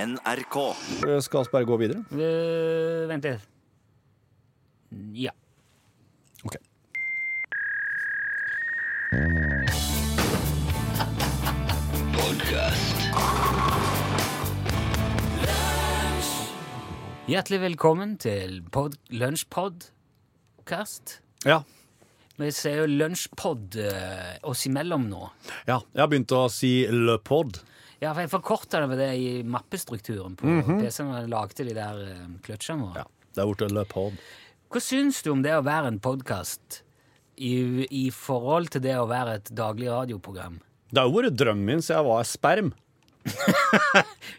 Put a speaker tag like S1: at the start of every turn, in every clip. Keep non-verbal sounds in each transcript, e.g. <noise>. S1: NRK.
S2: Eh, Skal Asperg gå videre?
S3: Øh, vent litt. Ja.
S2: Ok.
S3: Hjertelig velkommen til pod lunsjpodkast.
S2: Ja.
S3: Vi sier jo lunsjpod øh, oss imellom nå.
S2: ja. Jeg har begynt å si le pod.
S3: Ja, for jeg forkorta det med det i mappestrukturen på
S2: Mhm.
S3: PC-en når jeg lagde de der øh, kløtsjene våre.
S2: Det er blitt le pod.
S3: Hva syns du om det å være en podkast i, i forhold til det å være et daglig radioprogram?
S2: Det har jo vært drømmen min siden jeg var sperm.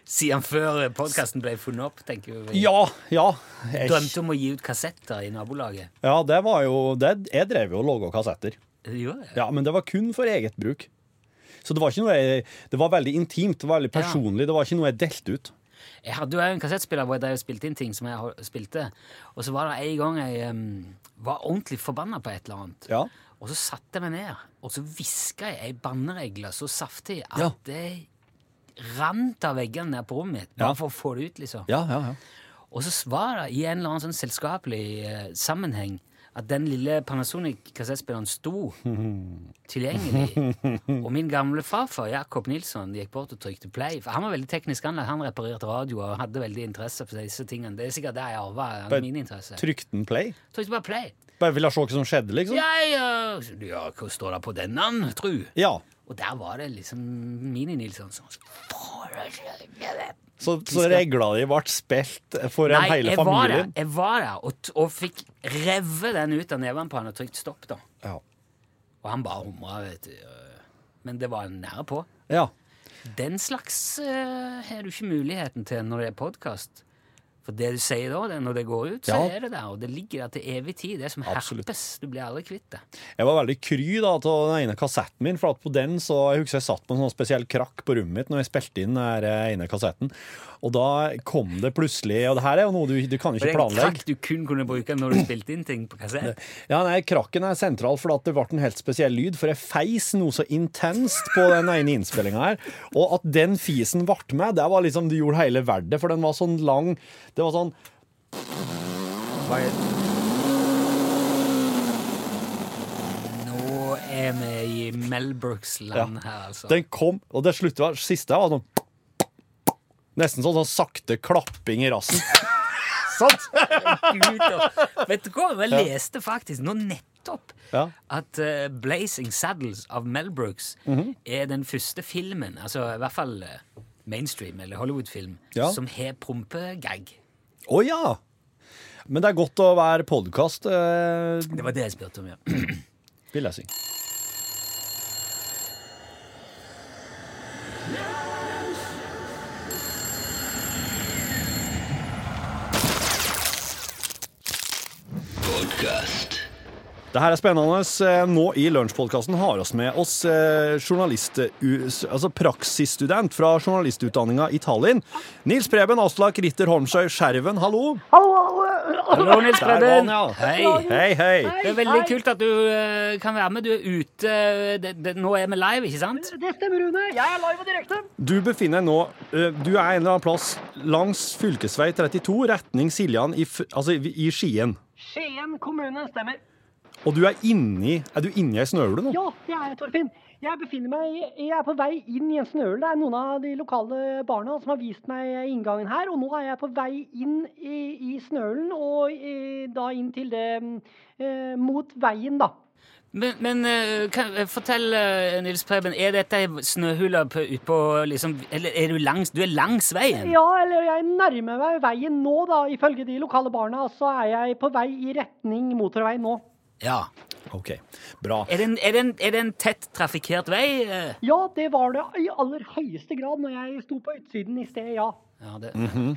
S3: Siden før podkasten ble funnet opp, tenker vi.
S2: Ja, ja. Jeg-
S3: Drømte om å gi ut kassetter i nabolaget.
S2: Ja, det var jo det, Jeg drev jo og laga kassetter.
S3: Jo, ja.
S2: Ja, Men det var kun for eget bruk. Så det var ikke noe jeg Det var veldig intimt, det var veldig
S3: Ja.
S2: personlig. Det var ikke noe jeg delte ut.
S3: Jeg hadde jo en kassettspiller hvor jeg drev og spilte inn ting som jeg hol- spilte. Og så var det en gang jeg em, var ordentlig forbanna på et eller annet.
S2: Ja.
S3: Og så satte jeg meg ned, og så hviska jeg ei banneregle så saftig at
S2: Ja.
S3: det rant av veggene ned på rommet mitt. Bare
S2: Ja.
S3: for å få det ut, liksom.
S2: Ja, ja, ja.
S3: Og så var det i en eller annen sånn selskapelig eh, sammenheng at den lille Panasonic-kassettspilleren sto tilgjengelig. Og min gamle farfar, Jakob Nilsson, gikk bort og trykte play. For han var veldig teknisk anlagt. Han reparerte radio og hadde veldig interesse for disse tingene. Det er sikkert der jeg arva
S2: Bare
S3: min interesse.
S2: Trykte den play?
S3: Trykte bare play.
S2: Bare ville se hva som skjedde, liksom?
S3: Jeg, eh, ja, hva står det på denne, tru?
S2: Ja.
S3: Og der var det liksom Mini-Nilsson som Faen,
S2: Så, så regla di ble spilt for en hele
S3: jeg var
S2: familien?
S3: der, jeg var der og, t- og fikk revet den ut av neven på han og trykt stopp, da.
S2: Ja.
S3: Og han bare humra, vet du. øh. Men det var nære på.
S2: ja.
S3: Den slags øh, har du ikke muligheten til når det er podkast. For det du sier da, det, når det går ut, så
S2: Ja.
S3: er det der, og det ligger der til evig tid. Det er som
S2: Absolutt.
S3: herpes. Du blir aldri kvitt det.
S2: Jeg var veldig kry da av den ene kassetten min, for at på den så jeg husker jeg satt på en sånn spesiell krakk på rommet mitt når jeg spilte inn den her, eh, ene kassetten. Og da kom det plutselig Og det her er jo noe du, du kan jo
S3: Det
S2: ikke
S3: er en
S2: planlegge.
S3: trakk du kun kunne bruke når du spilte inn ting på kassett.
S2: Ja, nei, Krakken er sentral, for at det ble en helt spesiell lyd. For jeg feis noe så intenst på den ene innspillinga her. Og at den fisen ble med, det var liksom det gjorde hele verden. For den var sånn lang Det var sånn
S3: Nå er vi i Melbrooks-land her, altså.
S2: Den kom, og det sluttet var siste her var sånn Nesten sånn, sånn sakte klapping i
S3: <laughs>
S2: rassen. Sant?
S3: ut. Og, vet du hva, jeg leste faktisk nå nettopp
S2: Ja.
S3: at eh, Blazing Saddles av Mel Brooks
S2: Mhm.
S3: er den første filmen, altså i hvert fall eh, mainstream eller Hollywood-film,
S2: Ja.
S3: som har prompegag.
S2: Å ja! Men det er godt å være podkast, eh,
S3: Det var det jeg spurte om, ja.
S2: vil jeg si. Det her er spennende. Eh, Nå i Lunsjpodkasten har oss med oss eh, journalist, u- s- altså praksisstudent fra journalistutdanninga i Tallinn. Nils Preben Aslak Ritter Holmsøy Skjerven, hallo!
S3: <laughs> Hallo, Nils
S2: Der var han,
S3: Preben.
S2: ja.
S3: Hei.
S2: Hei, hei.
S3: Det er veldig kult at du eh, kan være med. Du er ute eh, det, det, Nå er vi live, ikke sant?
S4: Det stemmer, Rune. Jeg er live og direkte.
S2: Du befinner deg nå eh, Du er en eller annen plass langs fylkesvei 32, retning Siljan i, f- altså, i Skien.
S4: Skien kommune stemmer.
S2: Og du er inni Er du inni ei snøhule nå?
S4: Ja, det er jeg, Torfinn. Jeg befinner meg, jeg er på vei inn i en snøhule. Det er noen av de lokale barna som har vist meg inngangen her. Og nå er jeg på vei inn i, i snøhulen, og eh, da inn til det mm, eh, Mot veien, da.
S3: Men, men eh, kan, eh, fortell, eh, Nils Preben, er dette ei snøhule på- utpå liksom Eller er du langs Du er langs veien?
S4: Ja, eller jeg nærmer meg veien nå, da. Ifølge de lokale barna så er jeg på vei i retning motorveien nå.
S3: Ja.
S2: OK, bra.
S3: Er det en, er det en, er det en tett trafikkert vei? eh?
S4: Ja, det var det i aller høyeste grad når jeg sto på utsiden i sted, ja.
S3: Ja, det,
S2: Mhm.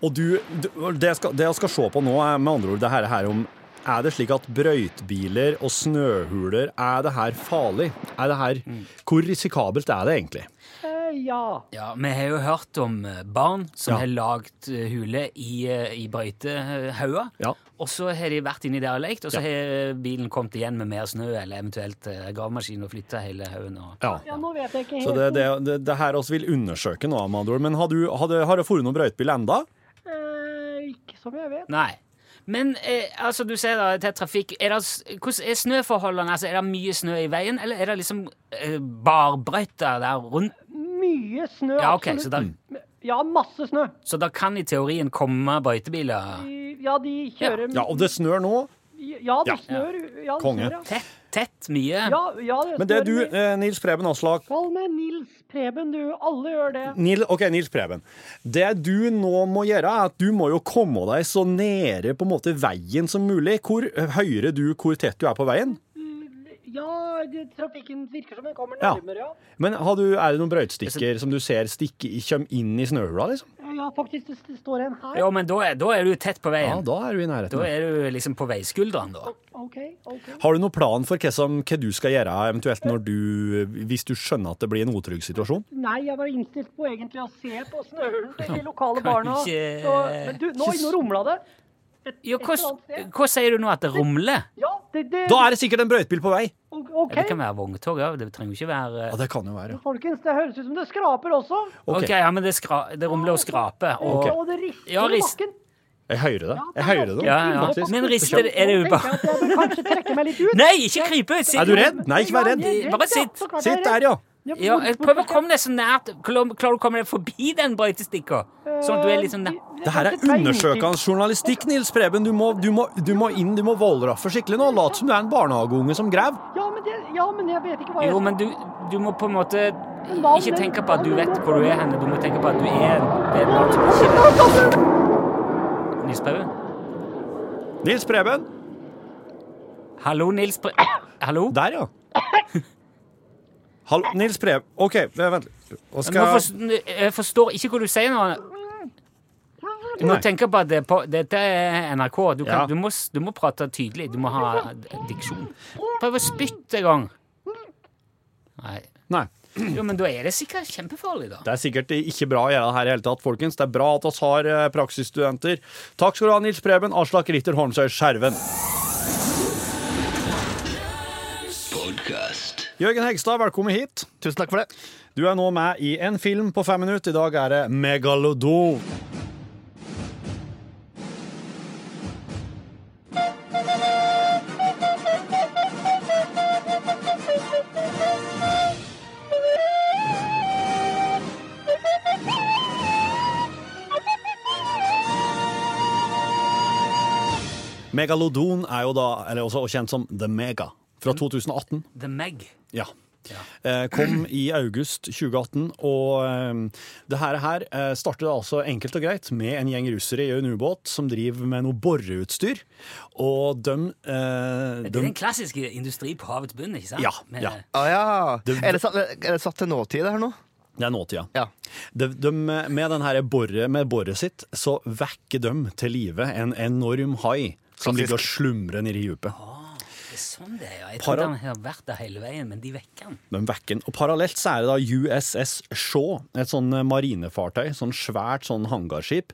S2: Og du, du det, jeg skal, det jeg skal se på nå, er med andre ord det her, her om Er det slik at brøytbiler og Mm. snøhuler Er det her farlig? Er det her Hvor risikabelt er det egentlig?
S4: Eh, ja.
S3: Ja, Vi har jo hørt om eh, barn som
S2: Ja.
S3: har lagd eh, hule i, eh, i brøytehauger.
S2: Ja.
S3: Og så har de vært inni der og lekt, og så har eh, bilen kommet igjen med mer snø, eller eventuelt eh, gravemaskin og flytta hele haugen. Og...
S2: Ja.
S4: Ja, nå vet jeg ikke
S2: Så
S4: helt.
S2: det, det, det, det her oss vil undersøke nå, med andre ord. Men har du, har du, har du fôret noen brøytebil enda?
S4: Eh, ikke som jeg vet.
S3: Nei. Men eh, altså, du ser da til trafikk er det, s- Hvordan er snøforholdene? Altså, er det mye snø i veien, eller er det liksom eh, barbrøyter der rundt?
S4: Mye snø,
S3: Ja, ok, så
S4: absolutt.
S2: Mm.
S3: der,
S4: Ja, masse snø.
S3: så da kan i teorien komme brøytebiler
S4: De- Ja, de kjører
S2: Ja, og det snør nå.
S4: Ja, det
S2: Ja.
S4: snør. Ja, det
S2: Konge.
S4: snør, ja.
S3: tett, tett mye?
S4: Ja, ja, det
S2: Men det
S4: snør
S2: du,
S4: mye.
S2: eh, Nils Preben Aslak
S4: Kall meg Nils Preben, du. Alle gjør det.
S2: Nil, ok, Nils Preben. Det du nå må gjøre, er at du må jo komme deg så nede på en måte veien som mulig. Hvor høyere du hvor tett du er på veien.
S4: Ja, det- trafikken virker som den kommer
S2: Ja.
S4: nærmere, ja.
S2: Men har du, er det noen brøytestikker som du ser stikke, kommer inn i snøhula, liksom?
S4: Eh, Ja, faktisk, det, det står en her.
S3: Jo, men da er, da er du tett på
S2: Ja,
S3: veien.
S2: da er du i
S3: Da
S2: nærheten.
S3: er du liksom på veiskulderen, da.
S4: OK, OK.
S2: Har du noen plan for hva, som, hva du skal gjøre, eventuelt når du, hvis du skjønner at det blir en utrygg situasjon?
S4: Nei, jeg var innstilt på egentlig å se på snøhulen til de lokale barna.
S3: Kanskje-
S4: Så, men du, nå, nå rumla det. Et,
S3: Jo,
S4: et
S3: hva,
S4: eller annet sted.
S3: hva sier du nå at det rumler?
S4: Ja, det, det,
S2: Da er det sikkert en brøytebil på vei!
S4: OK.
S3: Ja, det kan være vogntog òg. Det trenger jo ikke være
S2: Ja, det kan jo være. ja.
S4: Folkens, det høres ut som det skraper også.
S2: Ah, Ok,
S3: OK, ja, men det, skra, det rumler og skraper. Og,
S4: Og det rister
S3: Ja,
S4: i
S3: rist-
S4: bakken.
S2: Jeg hører det.
S4: Ja,
S2: Jeg hører det.
S3: Ja, ja.
S2: faktisk.
S3: Men rister er det
S4: Nå tenker
S3: ubehag-
S4: jeg at Jeg burde kanskje trekke meg litt ut.
S3: Nei, ikke krype! Sitt.
S2: Er du redd? Nei, ikke vær redd.
S4: jeg er
S3: Bare sitt.
S4: så klart jeg er
S2: Sitt der,
S4: redd.
S2: ja.
S3: Ja,
S4: hvor-
S3: jeg
S4: hvor-
S3: prøver å komme deg så nært. Klar- Klarer du å komme deg forbi den brøytestikka? Sånn at du er litt sånn nær.
S2: Det her er undersøkende journalistikk, Nils Preben. Du må, du må, du må inn, du må vollraffe skikkelig nå. Lat som du er en barnehageunge som grav.
S4: Ja, men, det, ja, men jeg vet ikke hva jeg
S3: Jo, men du, du må på en måte
S4: Eh, hva om
S3: ikke
S4: den-
S3: tenke på at du
S4: hva om den
S3: vet
S4: nå
S3: hvor du er hen. Du må tenke på at du er det er noe som ikke Nils Preben?
S2: Nils Preben.
S3: Hallo, Nils Preben? Hallo?
S2: Der, ja. Hallo, Nils Preben. OK, vent litt. Hva
S3: Nå
S2: skal
S3: forstår, jeg forstår ikke hva du sier nå. Du må
S2: Nei.
S3: tenke på at det er på, dette er NRK. Du,
S2: Ja.
S3: kan, du, må, s- du må prate tydelig. Du må ha diksjon. Prøv å spytte en gang. Nei.
S2: Nei.
S3: Jo, men da er det sikkert kjempefarlig, da.
S2: Det er sikkert ikke bra å gjøre det her i hele tatt, folkens. Det er bra at oss har eh, praksisstudenter. Takk skal du ha, Nils Preben. Aslak Ritter Holmsøy Skjerven. Jørgen Hegstad, velkommen hit.
S1: Tusen takk for det.
S2: Du er nå med i en film på fem minutter. I dag er det Megalodon. Megalodon er jo da, eller også kjent som The Mega,
S1: Mm.
S2: fra 2018.
S3: The Meg.
S2: Ja. Eh, Kom i august 2018, og eh, det her, her eh, startet altså enkelt og greit med en gjeng russere i en ubåt som driver med noe boreutstyr. Og de, eh,
S3: Det
S2: de
S3: er den klassiske industri på havets bunn, ikke sant? eh,
S2: Ja,
S3: Med-
S2: ja.
S1: Ah, ja. er, det satt, er det satt til nåtid, det her nå?
S2: Det er nåtida.
S1: Ja.
S2: De, de, med den her borre, med boret sitt så vekker de til live en enorm hai som
S1: Klassisk.
S2: ligger og slumrer nede i dypet.
S3: Det er sånn det er, ja. Jeg
S2: Para-
S3: trodde han har vært der hele veien, men de vekker han.
S2: Den vekken. Og parallelt så er det da USS Shaw, et sånn marinefartøy, sånn svært sånn hangarskip.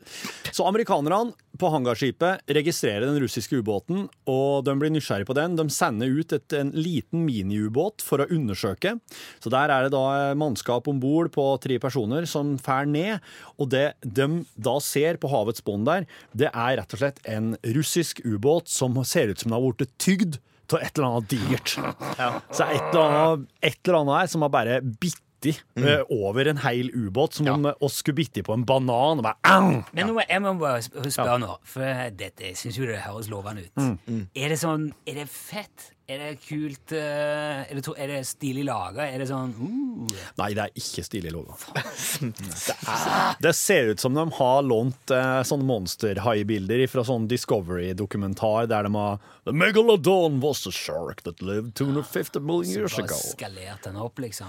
S2: Så amerikanerne på hangarskipet registrerer den russiske ubåten, og de blir nysgjerrige på den. De sender ut et, en liten miniubåt for å undersøke. Så der er det da eh, mannskap om bord på tre personer som fær ned, og det de da ser på havets bånd der, det er rett og slett en russisk ubåt som ser ut som den har blitt tygd av et eller annet digert. Så det er et eller annet, et eller annet her som har bare bitti eh, over en heil ubåt, som om eh, oss skulle bitti på en banan. Og bare, «Au!»
S3: Men nå, må- jeg må bare sp- spørre nå, for dette, jeg synes jo det høres lovende ut. Er det sånn, er det fett? Er det kult? eh, Er det, to- er det stilig laget? Er det sånn, uh,
S2: Nei, det er ikke stilig logo. Det, er- det ser ut som de har lånt eh, sånne monsterhaibilder fra sånn Discovery-dokumentar der de har The megalodon was a shark that lived 250 million years
S3: bare
S2: ago.
S3: skalert den opp, liksom.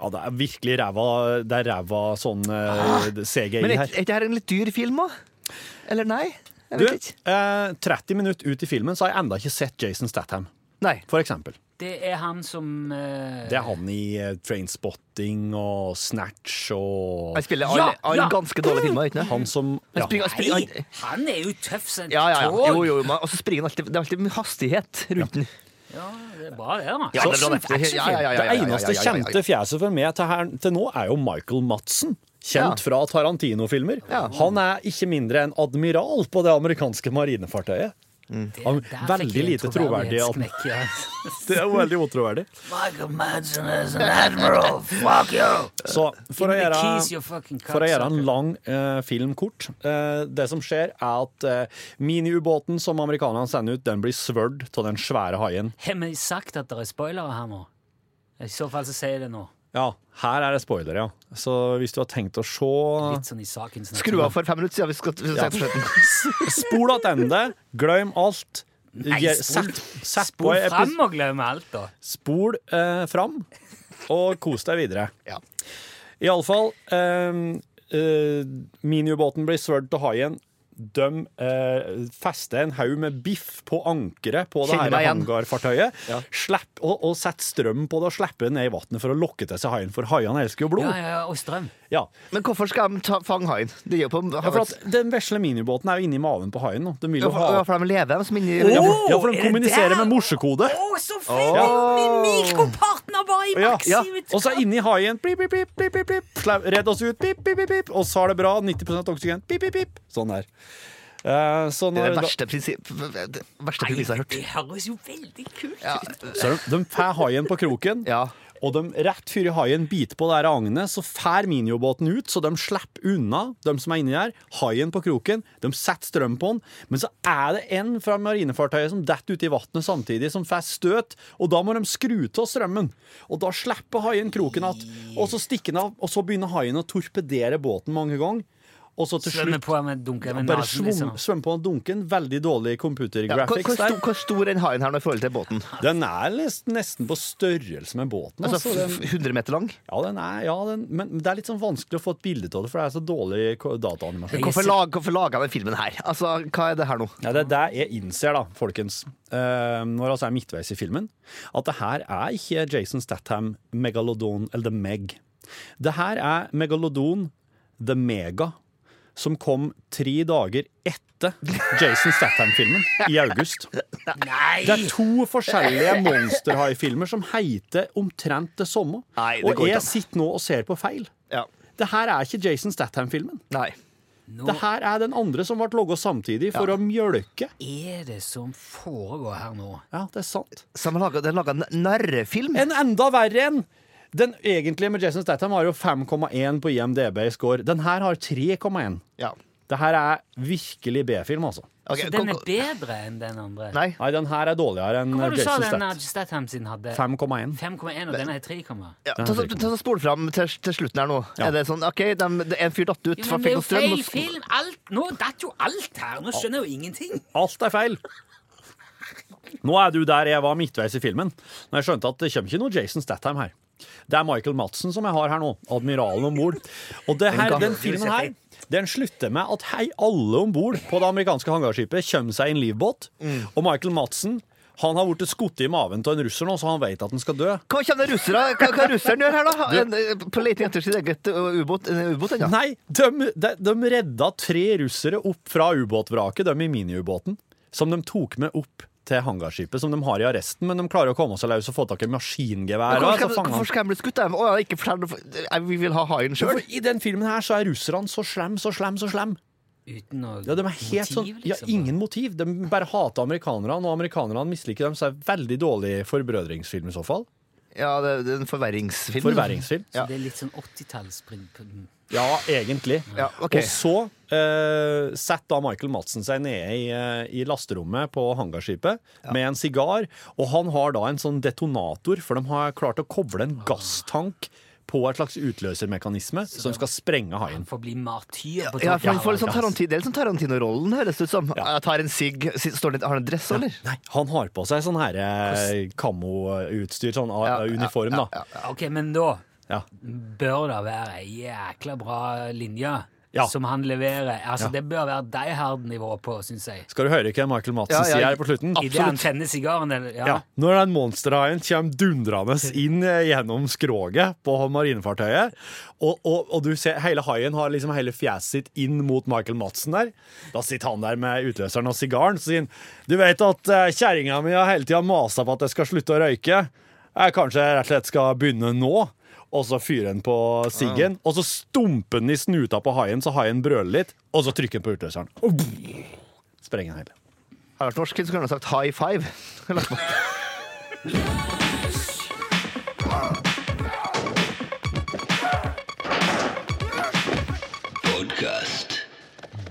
S2: Ja, det er virkelig ræva, det er ræva sånn eh, CGI
S1: Men er,
S2: her.
S1: er ikke dette en litt dyr film, da? Eller nei? Jeg
S2: Du,
S1: vet ikke.
S2: eh, 30 minutter ut i filmen så har jeg enda ikke sett Jason Statham,
S1: Nei.
S2: for eksempel.
S3: Det er han som eh,
S2: Det er han i eh, Trainspotting og Snatch og
S1: Han
S3: Ja,
S1: spiller alle, alle
S3: ja.
S1: ganske dårlige filmer, ikke sant?
S2: Han som
S1: Han
S2: ja.
S1: springer, han springer,
S3: Nei,
S1: han,
S3: han er jo tøff som et
S1: ja, ja, ja.
S3: tog.
S1: Jo, jo, men- og så springer han alltid Det er alltid mye hastighet rundt den.
S3: Ja, det er bra, det, da.
S1: Ja, det er bra, det.
S3: Action- actionfilm.
S1: Ja, ja, ja, ja.
S2: Det eneste kjente fjeset for meg til, her, til nå er jo Michael Madsen.
S1: Ja.
S2: Kjent fra Tarantino-filmer.
S1: Ja.
S2: Han er ikke mindre enn admiral på det amerikanske marinefartøyet.
S1: Mm.
S3: Det-
S2: Han-
S3: der fikk
S2: veldig
S3: jeg en
S2: lite troverdig at-
S3: troverdighetsknekk, ja.
S2: <laughs> Det er jo veldig utroverdig.
S3: Michael Madsen is an admiral. Fuck you!
S2: Så for å
S3: Give me the
S2: gjøre
S3: keys, you fucking
S2: for å gjøre en
S3: cocksucker.
S2: lang eh, film kort. eh, det som skjer, er at eh, miniubåten som amerikanerne sender ut, den blir svørd av den svære haien.
S3: Har vi sagt at det er spoilere her nå? I så fall så sier jeg det nå.
S2: Ja, her er det spoiler, ja. Så hvis du har tenkt å se
S3: Litt sånn i sakens natur.
S1: Skru av for fem minutter siden vi skal, vi skal sette slutten.
S2: Spol attende, glem alt.
S3: Nei,
S2: Gjør-
S3: spol-
S2: sett- sett på
S3: Spol
S2: epi-
S3: fram og glem alt, da.
S2: Spol eh, fram, og kos deg videre.
S1: Ja.
S2: Iallfall eh, eh, Miniubåten blir svørt til haien. De eh, fester en haug med biff på ankeret på det
S1: Kjenner
S2: her
S1: meg igjen.
S2: hangarfartøyet. Slipp- Og, og setter strøm på det og slipper det ned i vannet for å lokke til seg haien, for haiene elsker jo blod.
S3: Ja, ja, ja, og strøm.
S2: Ja.
S1: Men hvorfor skal de ta, fange haien? Det gjør på
S2: Ja, for at Den vesle miniubåten er jo inni maven på haien. nå. Den vil
S1: Ja,
S2: jo
S1: for,
S2: ha
S1: ja, for de lever, de som inni
S2: Ja,
S1: ja,
S2: for- ja, for
S3: er
S2: de
S3: det
S2: kommuniserer
S3: der?
S2: med morsekode.
S3: Å, så flink! Min mikropartner var i
S2: Ja, ja.
S3: maksimet.
S2: Og så inni haien pip, pip, pip, pip, pip, pip. Slau- Redd oss ut, pip, pip, pip, pip. Og så er det bra, 90 oksygen Pip, pip, pip. Sånn der Eh, så
S1: Det er
S2: når,
S1: det verste, prinsipp, det verste premisset jeg har hørt.
S3: Det høres jo veldig kult
S1: Ja.
S3: ut.
S2: så de, de fær haien på kroken
S1: Ja.
S2: Og de rett før haien biter på det her agnet Så fær miniobåten ut Så de slipper unna De som er inni der Haien på kroken De setter strøm på den Men så er det en fra marinefartøyet Som detter ut i vattnet samtidig Som fær støt Og da må de skru til strømmen Og da slipper haien kroken at, Og så stikker den av Og så begynner haien å torpedere båten mange ganger og så til
S3: Svømmer
S2: slutt
S3: på med dunker med
S2: bare
S3: nasen,
S2: svøm,
S3: liksom.
S2: svøm på dunken Veldig dårlig computer
S1: Ja, hvor, hvor,
S2: graphics
S1: stor,
S2: der
S1: hvor stor er den haien her nå i forhold til båten?
S2: Den er nes- nesten på størrelse med båten
S1: Altså
S2: altså, den,
S1: 100 meter lang?
S2: Ja, den er, ja den, men det er litt sånn vanskelig å få et bilde av det, for det er så dårlig ko- dataanimasjon.
S3: Jeg
S1: Hvorfor,
S3: ser-
S1: lag, hvorfor laga den filmen her? Altså, Hva er det her nå?
S2: Ja, det er det jeg innser, da, folkens, eh, når vi er midtveis i filmen, at det her er ikke Jason Statham, Megalodon eller The Meg. Det her er Megalodon, The Mega, som kom tre dager etter Jason Statham-filmen, i august. Det
S3: Nei!
S2: er to forskjellige monsterhai-filmer som heter omtrent det samme.
S1: Nei, det
S2: Og
S1: går ikke an.
S2: jeg sitter nå og ser på feil.
S1: Ja.
S2: Det her er ikke Jason Statham-filmen.
S1: Nei.
S3: Nå
S2: Det her er den andre som ble logget samtidig for å mjølke.
S3: er det som foregår her nå?
S2: Ja, det er sant.
S1: Så de laga en narrefilm?
S2: En enda verre en! Den egentlige med Jason Statham har jo 5,1 på IMDb i score. Den her har 3,1.
S1: Ja.
S2: Det her er virkelig B-film, altså.
S1: Ok,
S3: så den
S1: ko-
S3: er
S1: ko-
S3: bedre enn den andre?
S1: Nei.
S2: Nei, den her er dårligere enn
S3: Hva var det du sa
S2: Jason
S3: den
S2: Statham.
S3: Nudge Statham sin hadde?
S2: 5,1.
S3: 5,1, og den er 3, komma.
S1: Ja, ta, så- ta, så Spol fram til, til slutten her nå. Er det sånn, ok, de, det er En fyr datt ut
S3: Jo,
S1: fra
S3: men det er
S1: Fekk
S3: jo
S1: og Strøm.
S3: feil
S1: og-
S3: film! Alt, nå datt jo alt her! Nå skjønner jeg jo ingenting!
S2: Alt er feil. Nå er du der jeg var midtveis i filmen, når jeg skjønte at det kommer ikke noe Jason Statham her. Det er Michael Madsen som jeg har her nå, admiralen om bord. Og det her, den filmen her den slutter med at hei, alle om bord på det amerikanske hangarskipet kommer seg i en livbåt. Og Michael Madsen han har blitt skutt i maven av en russer nå, så han vet at han skal dø.
S1: Hva kommer det russere? Hva, hva russeren gjør her, da?
S3: <laughs>
S1: En, eh, på leting etter sitt eget ø, ubåt? en ubåt ennå?
S2: Nei, de, de, de redda tre russere opp fra ubåtvraket, de i miniubåten, som de tok med opp til hangarskipet, som de har i arresten, men de klarer å komme seg løs og få tak i maskingevær.
S1: Hvorfor skal,
S2: så fanger han-
S1: hvorfor skal han bli skutt? da? Å, ja, ikke fortell noe, for- Nei, Vi vil ha haien sjøl.
S2: For I den filmen her så er russerne så slem, så slem, så slem.
S3: Uten noe
S2: Ja, de er helt sånn,
S3: motiv,
S2: ja,
S3: liksom.
S2: ingen motiv. De bare hater amerikanerne, og amerikanerne misliker dem, så er det veldig dårlig forbrødringsfilm i så fall.
S1: Ja, det, det er en forverringsfilm.
S2: Forverringsfilm.
S1: Ja. Mm.
S3: Så det er litt sånn 80-tallsprim...
S2: Ja, egentlig.
S1: Ja, ok.
S2: Og så eh, setter da Michael Madsen seg nede i, eh, i lasterommet på hangarskipet med en sigar, og han har da en sånn detonator, for de har klart å koble en gasstank på et slags utløsermekanisme som skal sprenge haien.
S3: For å bli martyr på
S1: Ja, for han får
S3: av
S1: litt sånn
S3: alt.
S1: Tarantino, det er litt sånn Tarantino-rollen, høres det ut som. Jeg tar en sigg, sit- står litt, har han en dress, eller?
S2: Nei, han har på seg sånn her eh, kamoutstyr, sånn ah,
S1: Ja, ja,
S2: uniform, da.
S3: Ok, men da
S2: Ja.
S3: bør det være ei jækla bra linje.
S2: Ja.
S3: som han leverer. Altså,
S2: Ja.
S3: Det bør være Die Hard-nivå på, syns jeg.
S2: Skal du høre hva Michael Madsen
S1: Ja, ja,
S2: sier her på slutten?
S3: Idet han tenner sigaren. Eller, ja.
S2: Ja. Når den monsterhaien kommer dundrende inn eh, gjennom skroget på marinefartøyet, og, og, og du ser hele haien har liksom hele fjeset sitt inn mot Michael Madsen der, da sitter han der med utløseren og sigaren, så sier han Du vet at eh, kjerringa mi har hele tida masa på at jeg skal slutte å røyke. Jeg kanskje rett og slett skal begynne nå? Og så fyrer han på siggen, og så stumper han i snuta på haien, så haien brøler litt, og så trykker han på utløseren. Og boom! sprenger han hele.
S1: Hadde det vært norsk, så kunne han sagt high five.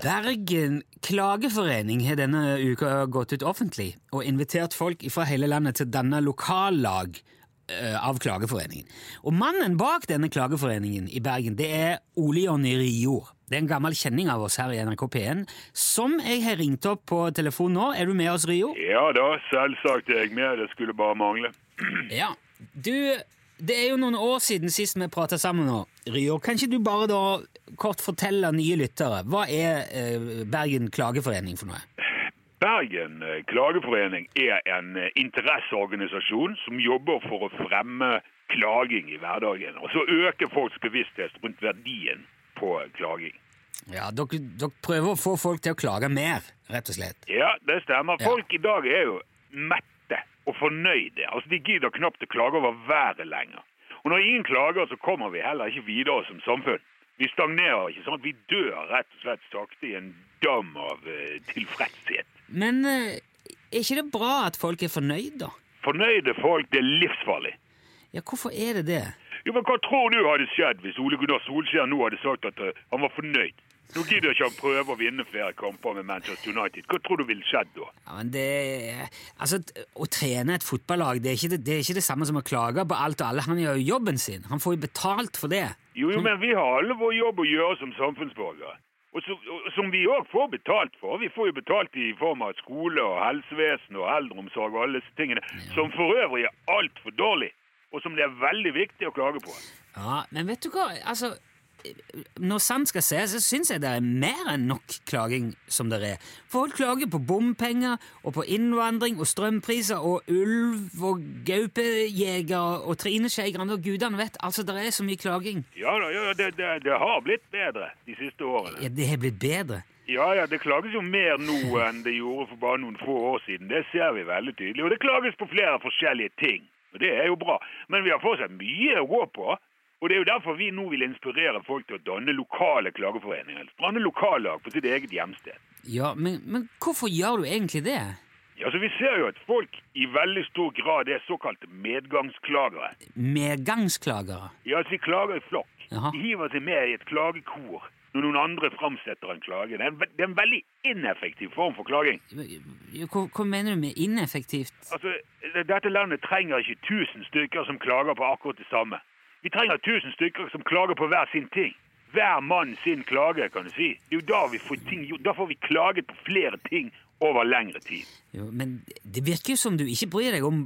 S3: Bergen klageforening har denne uka gått ut offentlig og invitert folk fra hele landet til å danne lokallag eh, av Klageforeningen. Og mannen bak denne klageforeningen i Bergen, det er Ole Jonny Rijord. Det er en gammel kjenning av oss her i NRK P1, som jeg har ringt opp på telefon nå. Er du med oss, Rijord?
S5: Ja da, selvsagt er jeg med. Det skulle bare mangle.
S3: Ja. Du, det er jo noen år siden sist vi prata sammen nå, Rijord. Kan ikke du bare da kort fortelle nye lyttere, hva er eh, Bergen klageforening for noe?
S5: Bergen eh, klageforening er en eh, interesseorganisasjon som jobber for å fremme klaging i hverdagen. Og så øke folks bevissthet rundt verdien på klaging.
S3: Ja, dere, dere prøver å få folk til å klage mer, rett og slett.
S5: Ja, det stemmer.
S3: Ja.
S5: Folk i dag er jo mette og fornøyde. Altså, De gidder knapt å klage over været lenger. Og når ingen klager, så kommer vi heller ikke videre som samfunn. Vi stagnerer, ikke sant? Vi dør rett og slett sakte i en dam av eh, tilfredshet.
S3: Men eh, er ikke det bra at folk er fornøyd, da?
S5: Fornøyde folk, det er livsfarlig.
S3: Ja, hvorfor er det det?
S5: Jo, men Hva tror du hadde skjedd hvis Ole Gunnar Solskjær nå hadde sagt at eh, han var fornøyd? Nå gidder ikke han prøve å vinne flere kamper med Manchester United. Hva tror du ville skjedd da?
S3: Ja, men det Altså, t- å trene et fotballag det er, ikke det, det er ikke det samme som å klage på alt og alle. Han gjør jo jobben sin. Han får jo betalt for det.
S5: Jo, jo, men vi har alle vår jobb å gjøre som samfunnsborgere. Og, så, og Som vi òg får betalt for. Vi får jo betalt i form av skole og helsevesen og eldreomsorg og alle disse tingene. Som for øvrig er altfor dårlig, og som det er veldig viktig å klage på.
S3: Ja, Men vet du hva? Altså, når sant skal sies, så syns jeg det er mer enn nok klaging som det er. Folk klager på bompenger og på innvandring og strømpriser og ulv og gaupejegere og Trine Skei Grande og gudene vet. Altså, det er så mye klaging.
S5: Ja da, ja, ja, det, det, det har blitt bedre de siste årene.
S3: Ja, det har blitt bedre.
S5: Ja ja, det klages jo mer nå enn det gjorde for bare noen få år siden. Det ser vi veldig tydelig. Og det klages på flere forskjellige ting. Og det er jo bra. Men vi har fortsatt mye å gå på. Og det er jo derfor vi nå vil inspirere folk til å danne lokale klageforeninger. Danne lokallag på sitt eget hjemsted.
S3: Ja, men, men hvorfor gjør du egentlig det?
S5: Ja, så Vi ser jo at folk i veldig stor grad er såkalte medgangsklagere.
S3: Medgangsklagere.
S5: Ja, altså De klager i flokk.
S3: Jaha.
S5: De hiver seg med i et klagekor når noen andre framsetter en klage. Det er en, ve- det er en veldig ineffektiv form for klaging.
S3: Hva, hva mener du med ineffektivt?
S5: Altså, det- Dette landet trenger ikke 1000 stykker som klager på akkurat det samme. Vi trenger 1000 stykker som klager på hver sin ting. Hver mann sin klage, kan du si. Det er jo da vi får ting gjort. Da får vi klaget på flere ting over lengre tid.
S3: Jo, men det virker jo som du ikke bryr deg om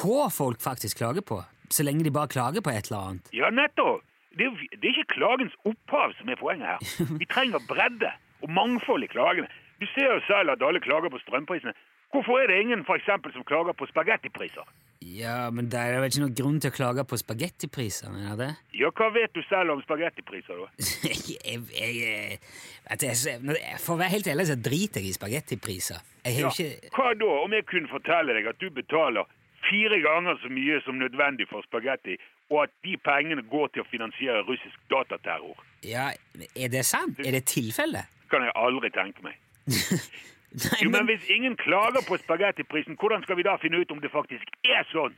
S3: hva folk faktisk klager på, så lenge de bare klager på et eller annet.
S5: Ja, nettopp! Det er, jo- det er ikke klagens opphav som er poenget her. Vi trenger bredde og mangfold i klagene. Du ser jo selv at alle klager på strømprisene. Hvorfor er det ingen for eksempel, som klager på spagettipriser?
S3: Ja, men det er vel ikke noen grunn til å klage på spagettipriser, er det?
S5: Ja, hva vet du selv om spagettipriser, da?
S3: <laughs> jeg, jeg, jeg, vet du, jeg, jeg- for å være helt ærlig så driter jeg i spagettipriser. Jeg har jo ikke...
S5: Hva da om jeg kunne fortelle deg at du betaler fire ganger så mye som nødvendig for spagetti, og at de pengene går til å finansiere russisk dataterror?
S3: Ja, er det sant? Er det tilfelle? <laughs>
S5: Det kan jeg aldri tenke meg.
S3: Nei,
S5: Jo, Men hvis ingen klager på spagettiprisen, hvordan skal vi da finne ut om det faktisk er sånn?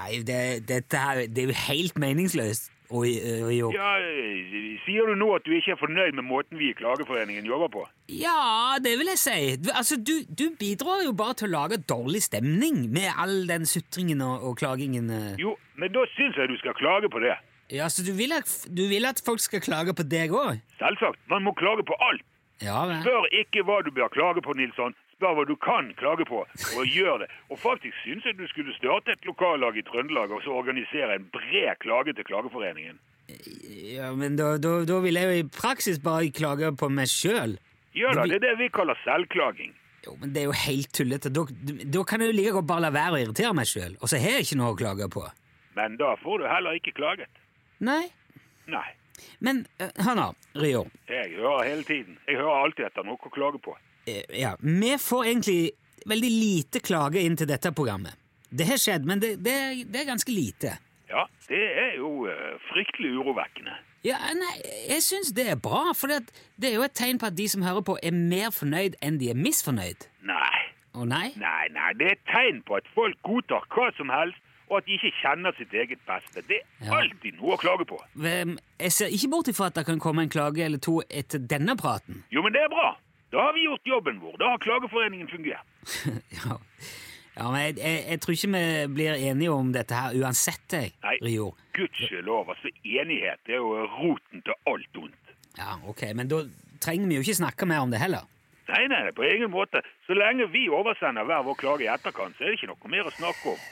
S3: Nei, det, dette her, det er jo helt meningsløst å, å, å gjøre.
S5: Ja, eh, Sier du nå at du ikke er fornøyd med måten vi i Klageforeningen jobber på?
S3: Ja, det vil jeg si. Du, altså, du, du bidrar jo bare til å lage dårlig stemning med all den sutringen og, og klagingen. eh.
S5: Jo, men da syns jeg du skal klage på det.
S3: Ja, så du vil, at, du vil at folk skal klage på deg òg?
S5: Selvsagt. Man må klage på alt.
S3: Ja, vel.
S5: Spør ikke hva du bør klage på, Nilsson. Spør hva du kan klage på, og gjør det. Og faktisk syns jeg du skulle starte et lokallag i Trøndelag og så organisere en bred klage til Klageforeningen.
S3: Ja, men da, da, da vil jeg jo i praksis bare klage på meg sjøl.
S6: Ja da, det er det vi kaller selvklaging.
S3: Jo, men det er jo helt tullete. Da, da kan jeg jo like godt bare la være å irritere meg sjøl, og så har jeg ikke noe å klage på.
S6: Men da får du heller ikke klaget.
S3: Nei,
S6: Nei.
S3: men eh, hør nå, Rio.
S6: Jeg hører hele tiden. Jeg hører alltid etter noe å klage på.
S3: Eh, Ja, vi får egentlig veldig lite klage inn til dette programmet. Det har skjedd, men det, det, det er ganske lite.
S6: Ja, det er jo eh, fryktelig urovekkende.
S3: Ja, nei, jeg syns det er bra, for det, det er jo et tegn på at de som hører på, er mer fornøyd enn de er misfornøyd.
S6: Nei,
S3: Å nei?
S6: nei, nei. Det er et tegn på at folk godtar hva som helst, og at de ikke kjenner sitt eget beste. Det er
S3: Ja.
S6: alltid noe å klage på.
S3: Hvem- Jeg ser ikke bort ifra at det kan komme en klage eller to etter denne praten. <laughs>
S6: Jo, men det er bra. Da har vi gjort jobben vår. Da har klageforeningen fungert.
S3: Ja, ja men jeg, jeg, jeg tror ikke vi blir enige om dette her uansett, jeg,
S6: Nei,
S3: Rio.
S6: gudskjelov. Altså, enighet er jo roten til alt ondt.
S3: Ja, ok, men da trenger vi jo ikke snakke mer om det heller.
S6: Nei, nei, nei, på egen måte. Så lenge vi oversender hver vår klage i etterkant, så er det ikke noe mer å snakke om.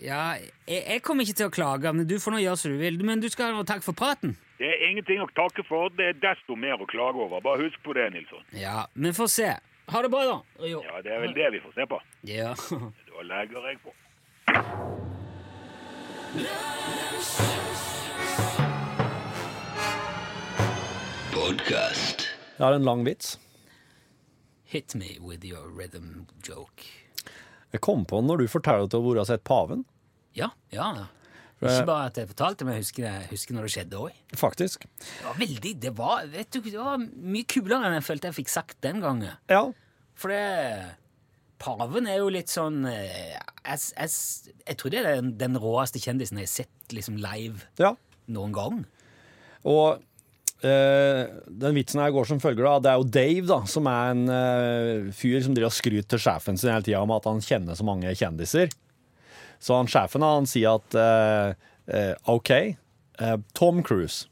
S3: Ja, jeg, jeg kommer ikke til å klage, men du får nå gjøre som du vil. Men du skal ha noe takk for praten.
S6: Det er ingenting å takke for. Det er desto mer å klage over. Bare husk på det, Nilsson.
S3: Ja, vi får se. Ha det bra, da, Rio.
S6: Ja, det er vel det vi får se på.
S3: Ja. <laughs>
S6: Da legger jeg på.
S7: Podcast.
S2: Jeg har en lang vits.
S3: Hit me with your rhythm joke.
S2: Jeg kom på den når du fortalte om hvor du har sett paven.
S3: Ja, ja. ja. Ikke bare at jeg fortalte, men jeg husker, jeg husker når det skjedde òg.
S2: Faktisk.
S3: Det var veldig, det var, vet du, det var mye kulere enn jeg følte jeg fikk sagt den gangen.
S2: Ja.
S3: For det Paven er jo litt sånn eh, Jeg, jeg, jeg tror det er den, den råeste kjendisen jeg har sett liksom live
S2: ja.
S3: noen gang.
S2: Og eh, den vitsen her går som følger, da. Det er jo Dave, da, som er en eh, fyr som driver og skryter til sjefen sin hele tida om at han kjenner så mange kjendiser. Så han sjefen han sier at eh, eh, OK, eh, Tom Cruise.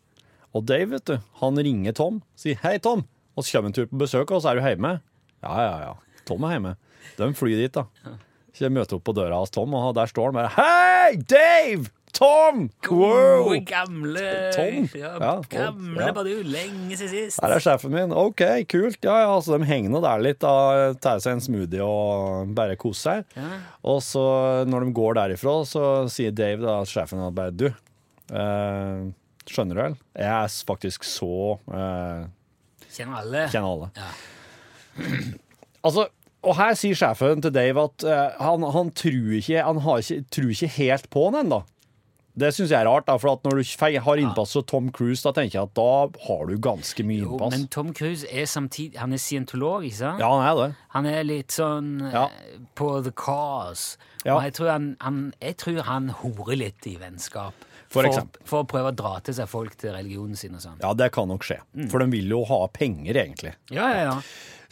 S2: Og Dave, vet du, han ringer Tom, sier 'Hei, Tom', og så kommer en tur på besøk, og så er du hjemme. Ja, ja, ja. Tom er hjemme. De flyr dit, da. Så jeg møter opp på døra hos Tom, og der står han bare 'Hei, Dave! Tom! Wow!'
S3: Gode, gamle
S2: Tom.
S3: Ja,
S2: Ja, og-
S3: gamle
S2: ja.
S3: Badu, lenge siden sist.
S2: Her er sjefen min. Ok, kult. Ja, ja, altså De henger nå der litt, da, tar seg en smoothie og bare koser seg. Og så når de går derifra, så sier Dave, da, sjefen, at bare du eh, Skjønner du vel? Jeg er faktisk så eh,
S3: Kjenner alle.
S2: Kjenner alle.
S3: Ja.
S2: <clears throat> Altså, og her sier sjefen til Dave at eh, han, han tror ikke Han har ikke, tror ikke helt på han ennå. Det syns jeg er rart, da, for at når du fei- har innpass og Tom Cruise, da tenker jeg at da har du ganske mye
S3: Jo,
S2: innpass.
S3: men Tom Cruise er samtidig Han er scientolog, ikke sant?
S2: Ja, han er det.
S3: Han er litt sånn eh,
S2: Ja.
S3: på the cause.
S2: Ja.
S3: Og jeg tror han, han, jeg tror han horer litt i vennskap.
S2: For
S3: for,
S2: eksempel.
S3: for å prøve å dra til seg folk til religionen sin og sånn.
S2: Ja, det kan nok skje. For de vil jo ha penger, egentlig.
S3: Ja, ja, ja.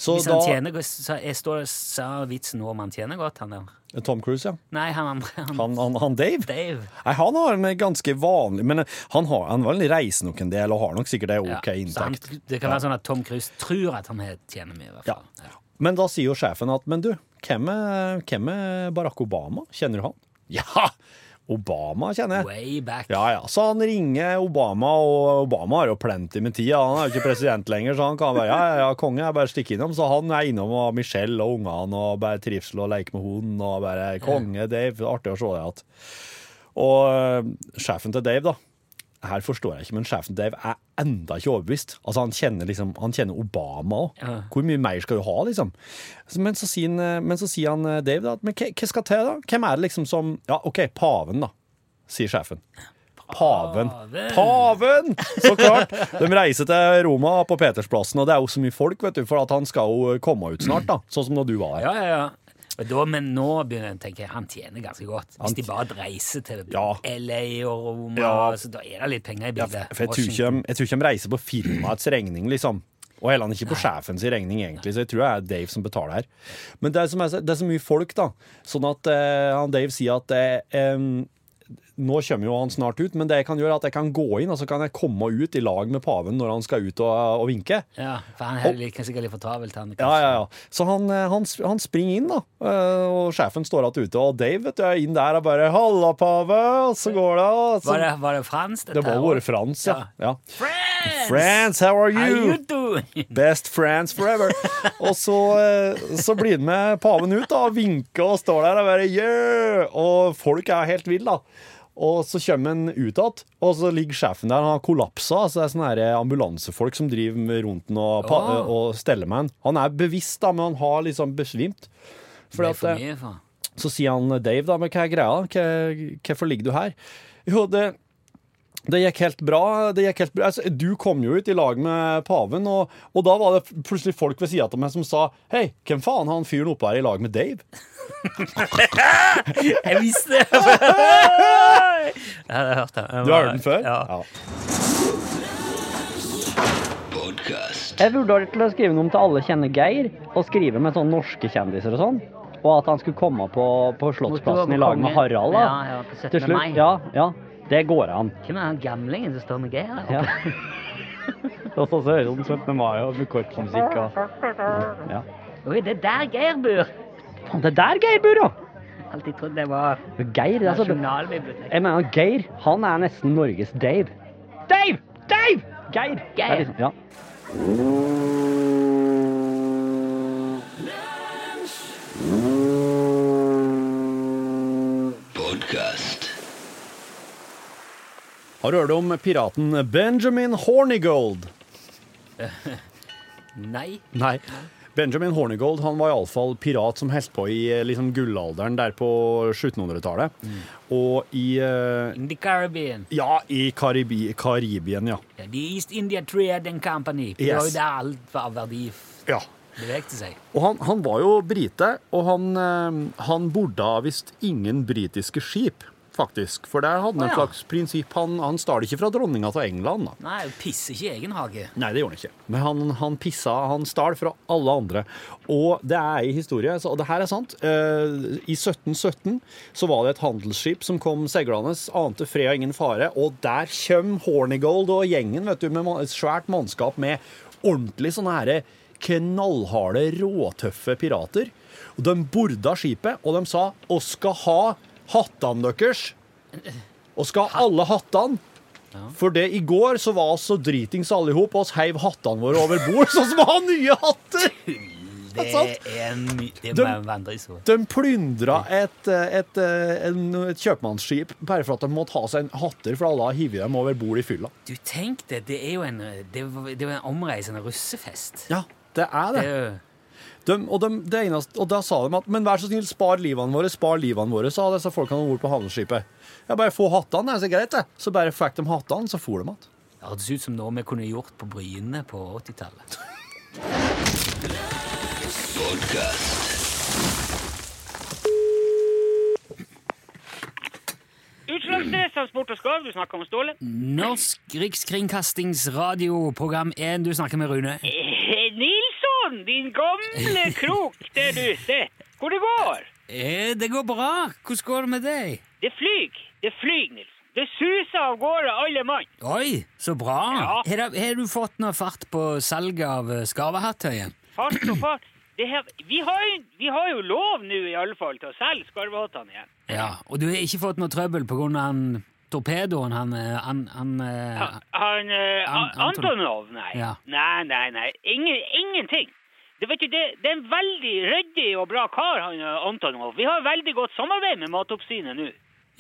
S2: Så
S3: Hvis
S2: da
S3: han tjener godt, så jeg står og sa vitsen nå om han tjener godt, han der.
S2: Tom Cruise, ja.
S3: Nei, han andre. Han,
S2: Han, han, han Dave.
S3: Dave.
S2: Nei, han har en ganske vanlig Men han, har, han vel reiser nok en del og har nok sikkert ei
S3: Ja,
S2: OK
S3: så han-
S2: inntekt.
S3: det kan være sånn at Tom Cruise tror at han het- tjener mye, i hvert
S2: Ja.
S3: fall.
S2: Men da sier jo sjefen at Men du, hvem er, hvem er Barack Obama? Kjenner du han? <laughs> Ja! Obama kjenner jeg.
S3: Way back.
S2: Ja, ja. Så han ringer Obama, og Obama har jo plenty med tid. Han er jo ikke president lenger, så han kan bare Ja, ja, ja, konge, jeg bare stikker innom. Så han er innom og Michelle og ungene og bare trivsel og leker med hunden og bare Konge, Dave. Artig å se deg igjen. Og øh, sjefen til Dave, da. Her forstår jeg ikke, men sjefen til Dave er enda ikke overbevist. Altså, han kjenner liksom Han kjenner Obama òg.
S3: Ja.
S2: Hvor mye mer skal du ha, liksom? Så- Men så sier han, øh, men så sier han øh, Dave, da, at men hva hva skal til, da? Hvem er det liksom som Ja, OK, paven, da, sier sjefen. Paven.
S3: Paven.
S2: Paven! Så klart! De reiser til Roma på Petersplassen, og det er jo så mye folk, vet du, for at han skal jo eh, komme ut snart, da. Sånn som når du var her.
S3: Ja, ja, ja. Og da, men nå begynner jeg å tenke han tjener ganske godt. Hvis de bare reiser til
S2: Ja.
S3: LA og Roma,
S2: Ja.
S3: så da er det litt penger i
S2: Ja,
S3: bildet.
S2: for jeg tror, ikke, de- jeg tror ikke de reiser på firmaets regning, liksom. Og heller ikke på sjefens regning, egentlig, så jeg tror det er Dave som betaler her. Men det er, som er, så- det er så mye folk, da, sånn at eh, han Dave sier at eh, em, Nå kommer jo han snart ut, men det jeg kan gjøre er at jeg kan gå inn og så kan jeg komme ut i lag med paven når han skal ut og, og vinke.
S3: Ja, for han er litt- sikkert litt for travel til han.
S2: Ja, ja, ja. Så han, eh, han, sp- han springer inn, da. Eh, Og sjefen står igjen ute. Og Dave vet du, er inn der og bare 'Halla, pave!' Og så går det. Og så,
S3: Var det, var det Frans? dette
S2: det var
S3: her?
S2: våre Frans, ja. ja.
S3: Frans!
S2: France, how are
S3: How
S2: you?
S3: you
S2: <laughs>
S3: doing?
S2: Best friends forever. Og så, eh, så blir han med paven ut da, og vinker og står der og bare yeah! Og folk er helt ville, da. Og så kommer han ut igjen, og så ligger sjefen der. Han har kollapsa. Så det er sånne her eh, ambulansefolk som driver rundt han og, pa-
S3: Ah.
S2: og steller med han. Han er bevisst, da, men han har liksom besvimt. Fordi
S3: Det er
S2: at,
S3: for
S2: eh,
S3: mye for.
S2: så sier han Dave, da, men hva er greia? Hva- Hvorfor ligger du her? Jo, det, det gikk helt bra. Det gikk helt bra. Altså, du kom jo ut i lag med paven, og, og da var det plutselig folk ved sida av meg som sa Hei, hvem faen har han fyren oppe her i lag med Dave?
S3: Jeg visste det! <laughs> jeg hadde hørt den. Jeg
S2: Du har hørt den før?
S3: Ja.
S4: Jeg vurderte til å skrive noe om til alle kjenner Geir, og skrive med sånne norske kjendiser og sånn. Og at han skulle komme på, på Slottsplassen i lag med Harald. da.
S7: Ja, ja, på 17.
S4: Til
S7: mai.
S4: slutt, ja, ja, det går an.
S7: Hvem er han gamlingen som står med Geir? der oppe?
S4: Ja. og så hører du den 17. mai og med korpsmusikk og ja.
S7: Oi, det er der Geir bor!
S4: Faen, det er der Geir bor, ja!
S7: Alltid trodd det var
S4: Geir, altså,
S7: Nasjonalbiblioteket.
S4: jeg mener Geir, han er nesten Norges Dave. Dave! Dave! Geir! Det er liksom- Ja.
S2: Har du hørt om piraten Benjamin Hornigold?
S3: Nei.
S2: Nei. Benjamin Hornigold han var iallfall pirat som holdt på i eh, liksom, gullalderen der på 1700-tallet.
S4: Mm.
S2: Og i eh,
S3: In the Caribbean.
S2: Ja, i Karibi, Karibien, ja.
S3: Ja, The East India Trading Company. Det var
S2: Yes.
S3: jo der alt var av verdi f-
S2: ja.
S3: bevegte seg.
S2: Og han, han var jo brite, og han, eh, han borde ha visst ingen britiske skip, faktisk. For der hadde han
S3: Å,
S2: et
S3: ja.
S2: slags prinsipp. Han, han stal ikke fra dronninga til England, da.
S3: Nei, pisser ikke i egen hage.
S2: Nei, det gjorde han ikke. Men han, han pissa, han stal fra alle andre. Og det er i historie, så, og det her er sant. Eh, I 1717 så var det et handelsskip som kom seilende, ante fred og ingen fare, og der kom Hornigold og gjengen, vet du, med ma- et svært mannskap med ordentlig sånne herre knallharde, råtøffe pirater. Og de borda skipet, og de sa «Oss skal ha hattene deres'. Og skal ha alle hattene. For det i går så var oss så dritings alle ihop, og oss heiv hattene våre over bord, <laughs> sånn som vi har nye hatter!
S3: Det
S2: er sant.
S3: er en my- det
S2: De-
S3: er en vandrehistorie.
S2: De plyndra et, eh, et, eh, en- et kjøpmannsskip bare for at de måtte ha seg en hatter, for alle har hivet dem over bord i fylla.
S3: Du, tenk det. Det er jo en, det var, det var en omreisende russefest.
S2: Ja, det er
S3: Det
S2: det.
S3: er jo...
S2: De, og, de, det eneste, og da sa de at Men vær så snill, spar livene våre, spar livene våre, sa disse folkene om bord på havneskipet. Ja, bare få hattene, det er så greit, det. Så bare fikk de hattene, så for de igjen.
S3: Det hørtes ut som noe vi kunne gjort på Bryne på 80-tallet.
S5: Utslagsnedtransport og skarv, du snakker om Ståle.
S3: Norsk Rikskringkastingsradio, program 1. Du snakker med Rune.
S5: Eh, Nilsson, din gamle krok der du sitter. Hvor det går?
S3: Eh, det går bra. Hvordan går det med deg?
S5: Det flyg, det flyg, Nilsson. Det suser av gårde alle mann.
S3: Oi, så bra. Har, da- har du fått noe fart på salget av eh, skarvehattøyen?
S5: Fart og fart. Det her, vi, har, jo- vi har jo lov nå i alle fall til å selge skarvehattene igjen.
S3: Ja, og du har ikke fått noe trøbbel på grunn av han torpedoen han, eh, han, han eh,
S5: Han, han eh,
S3: An-
S5: An- Antonov, nei.
S3: Ja.
S5: Nei, nei, nei. Ingen, ingenting. Det, vet du, det, det er en veldig ryddig og bra kar, han eh, Antonov. Vi har veldig godt samarbeid med Matoppsynet nå.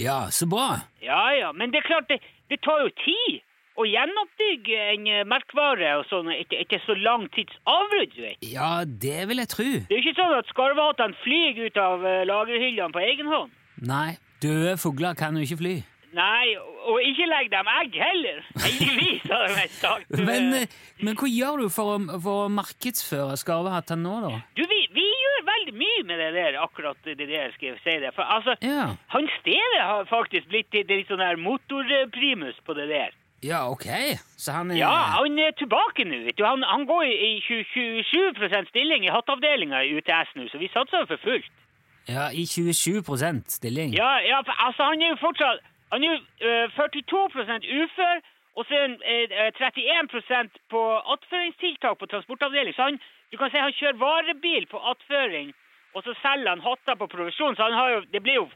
S3: Ja, så bra.
S5: Ja, ja, men det er klart, det, det tar jo tid å gjenoppbygge en eh, merkvare og sånn etter, etter så lang tids avbrudd, du vet.
S3: Ja, det vil jeg tro.
S5: Det er jo ikke sånn at skarvehattene flyr ut av eh, lagerhyllene på egen hånd.
S3: Nei, døde fugler kan jo ikke fly.
S5: Nei, og, og ikke legg dem egg heller. Heldigvis har de vært sagt. du,
S3: Men,
S5: eh,
S3: eh, men hva gjør du for å, for å markedsføre skarvehattene nå, da?
S5: Du, vi, vi gjør veldig mye med det der, akkurat det der, skal jeg si det. For altså,
S3: Ja.
S5: han Steve har faktisk blitt litt, litt sånn der motorprimus på det der.
S3: Ja, ok. Så han er
S5: Ja, han er tilbake nå. vet du. Han, han går i 20 27 stilling i hattavdelinga i UTS nå, så vi satser for fullt.
S3: Ja, i 27 stilling.
S5: Ja, ja, for, altså Han er jo fortsatt Han er jo eh, 42 ufør, og så er han eh, 31 på attføringstiltak på transportavdeling. Så han, du kan si han kjører varebil på attføring, og så selger han hatter på provisjon. Så han har jo, det blir jo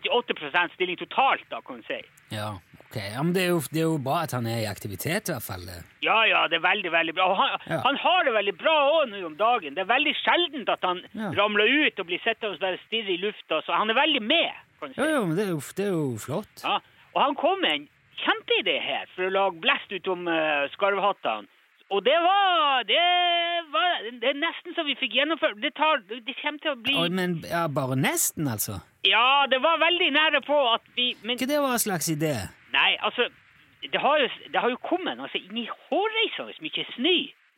S5: 58 stilling totalt, da, kan du si.
S3: Ja, ok. Ja, men det er, jo, det er jo bra at han er i aktivitet, i hvert fall. det.
S5: Ja, ja, det er veldig, veldig bra. Og han,
S3: Ja.
S5: han har det veldig bra òg nå om dagen. Det er veldig sjeldent at han
S3: Ja.
S5: ramler ut og blir sittende og bare stirre i lufta. Så han er veldig med, kan du si.
S3: Jo, jo, men det er jo, det er jo flott.
S5: Ja, og han kom med en kjempeidé her for å lage blest ut om eh, skarvhattene. Og det var, det var Det er nesten så vi fikk gjennomført. Det, tar, det kommer til å bli
S3: Oi, men ja, bare nesten, altså.
S5: Ja, det var veldig nære på at vi Men
S3: Ikke det var en slags idé?
S5: nei, altså Det har jo, det har jo kommet altså, inn i hårreisende mye snø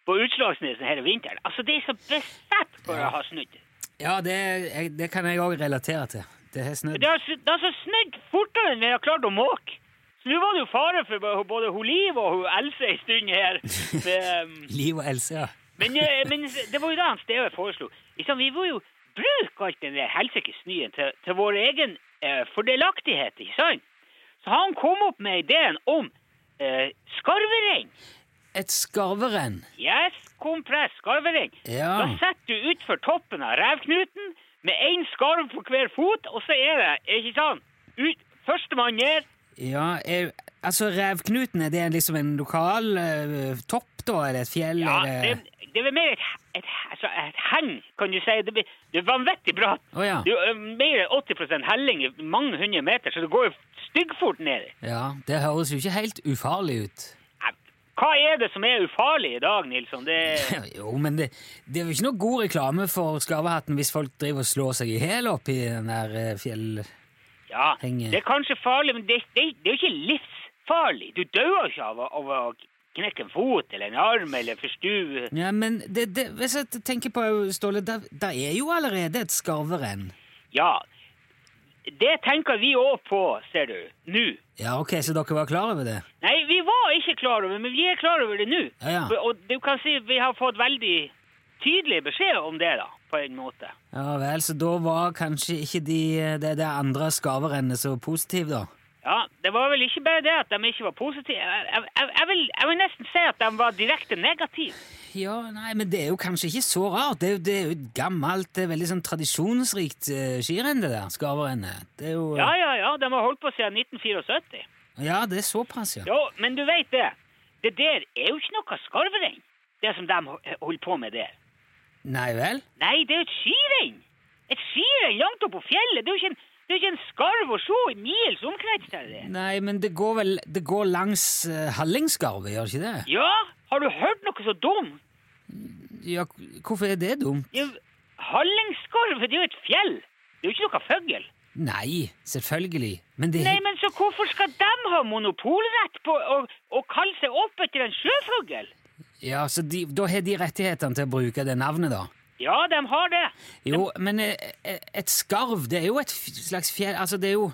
S5: på Utslagsnesen denne vinteren. Altså, det er så besett for å ha snudd.
S3: Ja, det, jeg, det kan jeg òg relatere til. Det har snødd.
S5: Det har, s- det har så snødd fortere enn vi har klart å måke. Så nå var det jo fare for både- både hun Liv og hun Else en stund
S3: <laughs>
S5: her. Med, um,
S3: Liv og Else, ja.
S5: Men, eh, men det var jo det han Steve foreslo. Liksom, vi må jo bruke alt den der helsikes snøen til, til vår egen eh, fordelaktighet, ikke sant? Så han kom opp med ideen om eh, skarverein.
S3: Et skarverenn.
S5: Yes, kompress, skarverein.
S3: Ja.
S5: Da setter du utfor toppen av revknuten med én skarv på hver fot, og så er det, ikke sant, ut, førstemann ned.
S3: Ja, jeg, altså Revknuten, er det liksom en lokal eh, topp, da? Er det et fjell?
S5: Ja,
S3: er
S5: det, det er vel mer et, et, altså et heng, kan du si. Det, blir- det er vanvittig bratt.
S3: Å, ja.
S5: Det er jo, eh, mer enn 80 helling i mange hundre meter, så det går jo styggfort ned.
S3: ja, det høres jo ikke helt ufarlig ut.
S5: Nei, Hva er det som er ufarlig i dag, Nilsson?
S3: <laughs>
S5: Det,
S3: Jo, men det, det er jo ikke noe god reklame for skarvehatten hvis folk driver og slår seg i hjel oppi den der eh, fjell...
S5: ja,
S3: Henge.
S5: det er kanskje farlig, men det, det, det er jo ikke livsfarlig. Du dør jo ikke av, å- av å knekke en fot eller en arm eller forstue.
S3: Ja, men det, det, hvis jeg tenker på, Ståle, der, der er jo allerede et skarverenn.
S5: Ja, det tenker vi òg på, ser du, nå.
S3: Ja, ok, så dere var klar over det?
S5: Nei, vi var ikke klar over men vi er klar over det nå.
S3: Ja, ja.
S5: For- Og du kan si vi har fått veldig tydelig beskjed om det, da, på en måte.
S3: Ja vel, så da var kanskje ikke de, eh, det, det andre skarverennet så positiv, da?
S5: Ja, Det var vel ikke bare det at de ikke var positive. Jeg, jeg, jeg, jeg, vil, jeg vil nesten si at de var direkte negative.
S3: Ja, nei, men det er jo kanskje ikke så rart. Det er jo, det er jo et gammelt, det er veldig sånn tradisjonsrikt eh, skirenn, det der, skarverennet. Det er jo
S5: Ja, ja, ja, de har holdt på siden 1974.
S3: Ja, det er såpass, ja.
S5: Jo, men du vet det. Det der er jo ikke noe skarverenn, det som de ho- holder på med der.
S3: Nei vel?
S5: Nei, det er jo et skirenn! Et skirenn langt opp på fjellet! Det er jo ikke en, det er jo ikke en skarv å se i mils omkrets til det.
S3: Nei, men det går vel Det går langs uh, Hallingskarvet, gjør det ikke det?
S5: Ja, har du hørt noe så dumt?
S3: Ja, hvorfor er det dumt?
S5: Det er jo- Hallingskarv, det er jo et fjell! Det er jo ikke noe fugl.
S3: Nei, selvfølgelig. Men det
S5: Nei, men så hvorfor skal de ha monopolrett på å, å kalle seg opp etter en sjøfugl?
S3: Ja, så de, Da har de rettighetene til å bruke det navnet, da?
S5: Ja, de har det.
S3: Jo, men eh, eh, et skarv, det er jo et f- slags fjell Altså, det er jo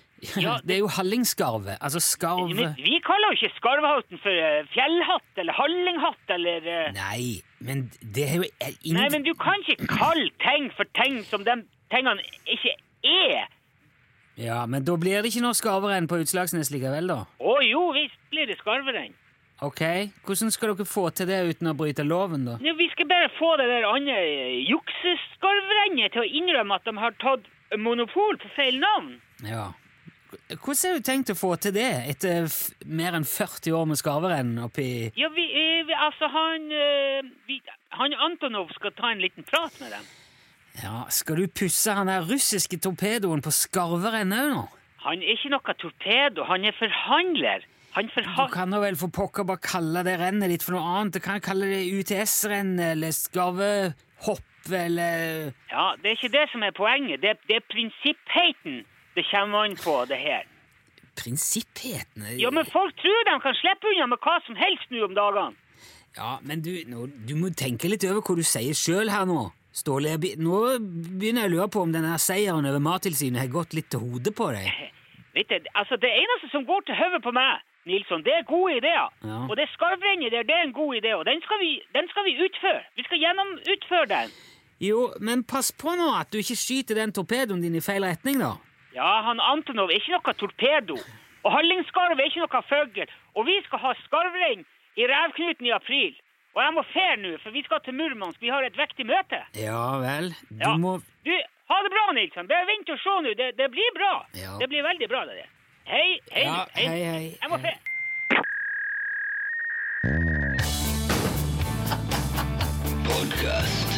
S3: <laughs>
S5: Ja,
S3: Det er jo Hallingskarvet. Altså skarv
S5: Men vi kaller jo ikke skarvehatten for eh, fjellhatt eller hallinghatt eller eh,
S3: Nei, men det er jo eh, ingen
S5: Nei, men du kan ikke kalle ting for ting som de tingene ikke er.
S3: Ja, men da blir det ikke noe skarverenn på Utslagsnes likevel, da?
S5: Å jo, visst blir det skarverenn.
S3: Ok, Hvordan skal dere få til det uten å bryte loven, da?
S5: Nå, Vi skal bare få det der andre eh, jukseskarverennet til å innrømme at de har tatt monopol på feil navn.
S3: Ja. Hvordan har du tenkt å få til det etter f mer enn 40 år med skarverenn oppi
S5: Ja, vi, eh, vi altså han, eh, vi, han Antonov skal ta en liten prat med dem.
S3: Ja, Skal du pusse han der russiske torpedoen på skarverennet òg nå?
S5: Han er ikke noe torpedo, han er forhandler. Han
S3: Du
S5: forhandler.
S3: kan da vel for pokker bare kalle det rennet ditt for noe annet? Du kan kalle det UTS-rennet eller skarvehopp eller
S5: Ja, det er ikke det som er poenget. Det, det er prinsippheiten det kommer an på, det her.
S3: Prinsipphetene
S5: Ja, men folk tror de kan slippe unna med hva som helst nå om dagene.
S3: Ja, men du, nå, du må tenke litt over hva du sier sjøl her nå. Ståle, Jeg be- nå begynner jeg å lure på om denne seieren over Mattilsynet har gått litt til hodet på deg.
S5: Vet du, altså det eneste som går til høvet på meg, Nilsson, det er gode ideer.
S3: Ja.
S5: Og det skarvrennet der, det er en god idé, og den skal vi, den skal vi utføre. Vi skal gjennom utføre den.
S3: Jo, men pass på nå at du ikke skyter den torpedoen din i feil retning, da.
S5: Ja, han Antonov er ikke noe torpedo. Og hallingskarv er ikke noe føgl. Og vi skal ha skarvrein i Revknuten i april. Og jeg må fer nå, for vi skal til Murmansk. Vi har et viktig møte.
S3: Ja vel. Du
S5: Ja.
S3: må
S5: Du, ha det bra, Nilsson. Bare vent og se nå. Det, det blir bra.
S3: Ja.
S5: Det blir veldig bra, det der. Hei, hei,
S3: Ja, hei, hei.
S5: Jeg må fer.
S8: Podcast.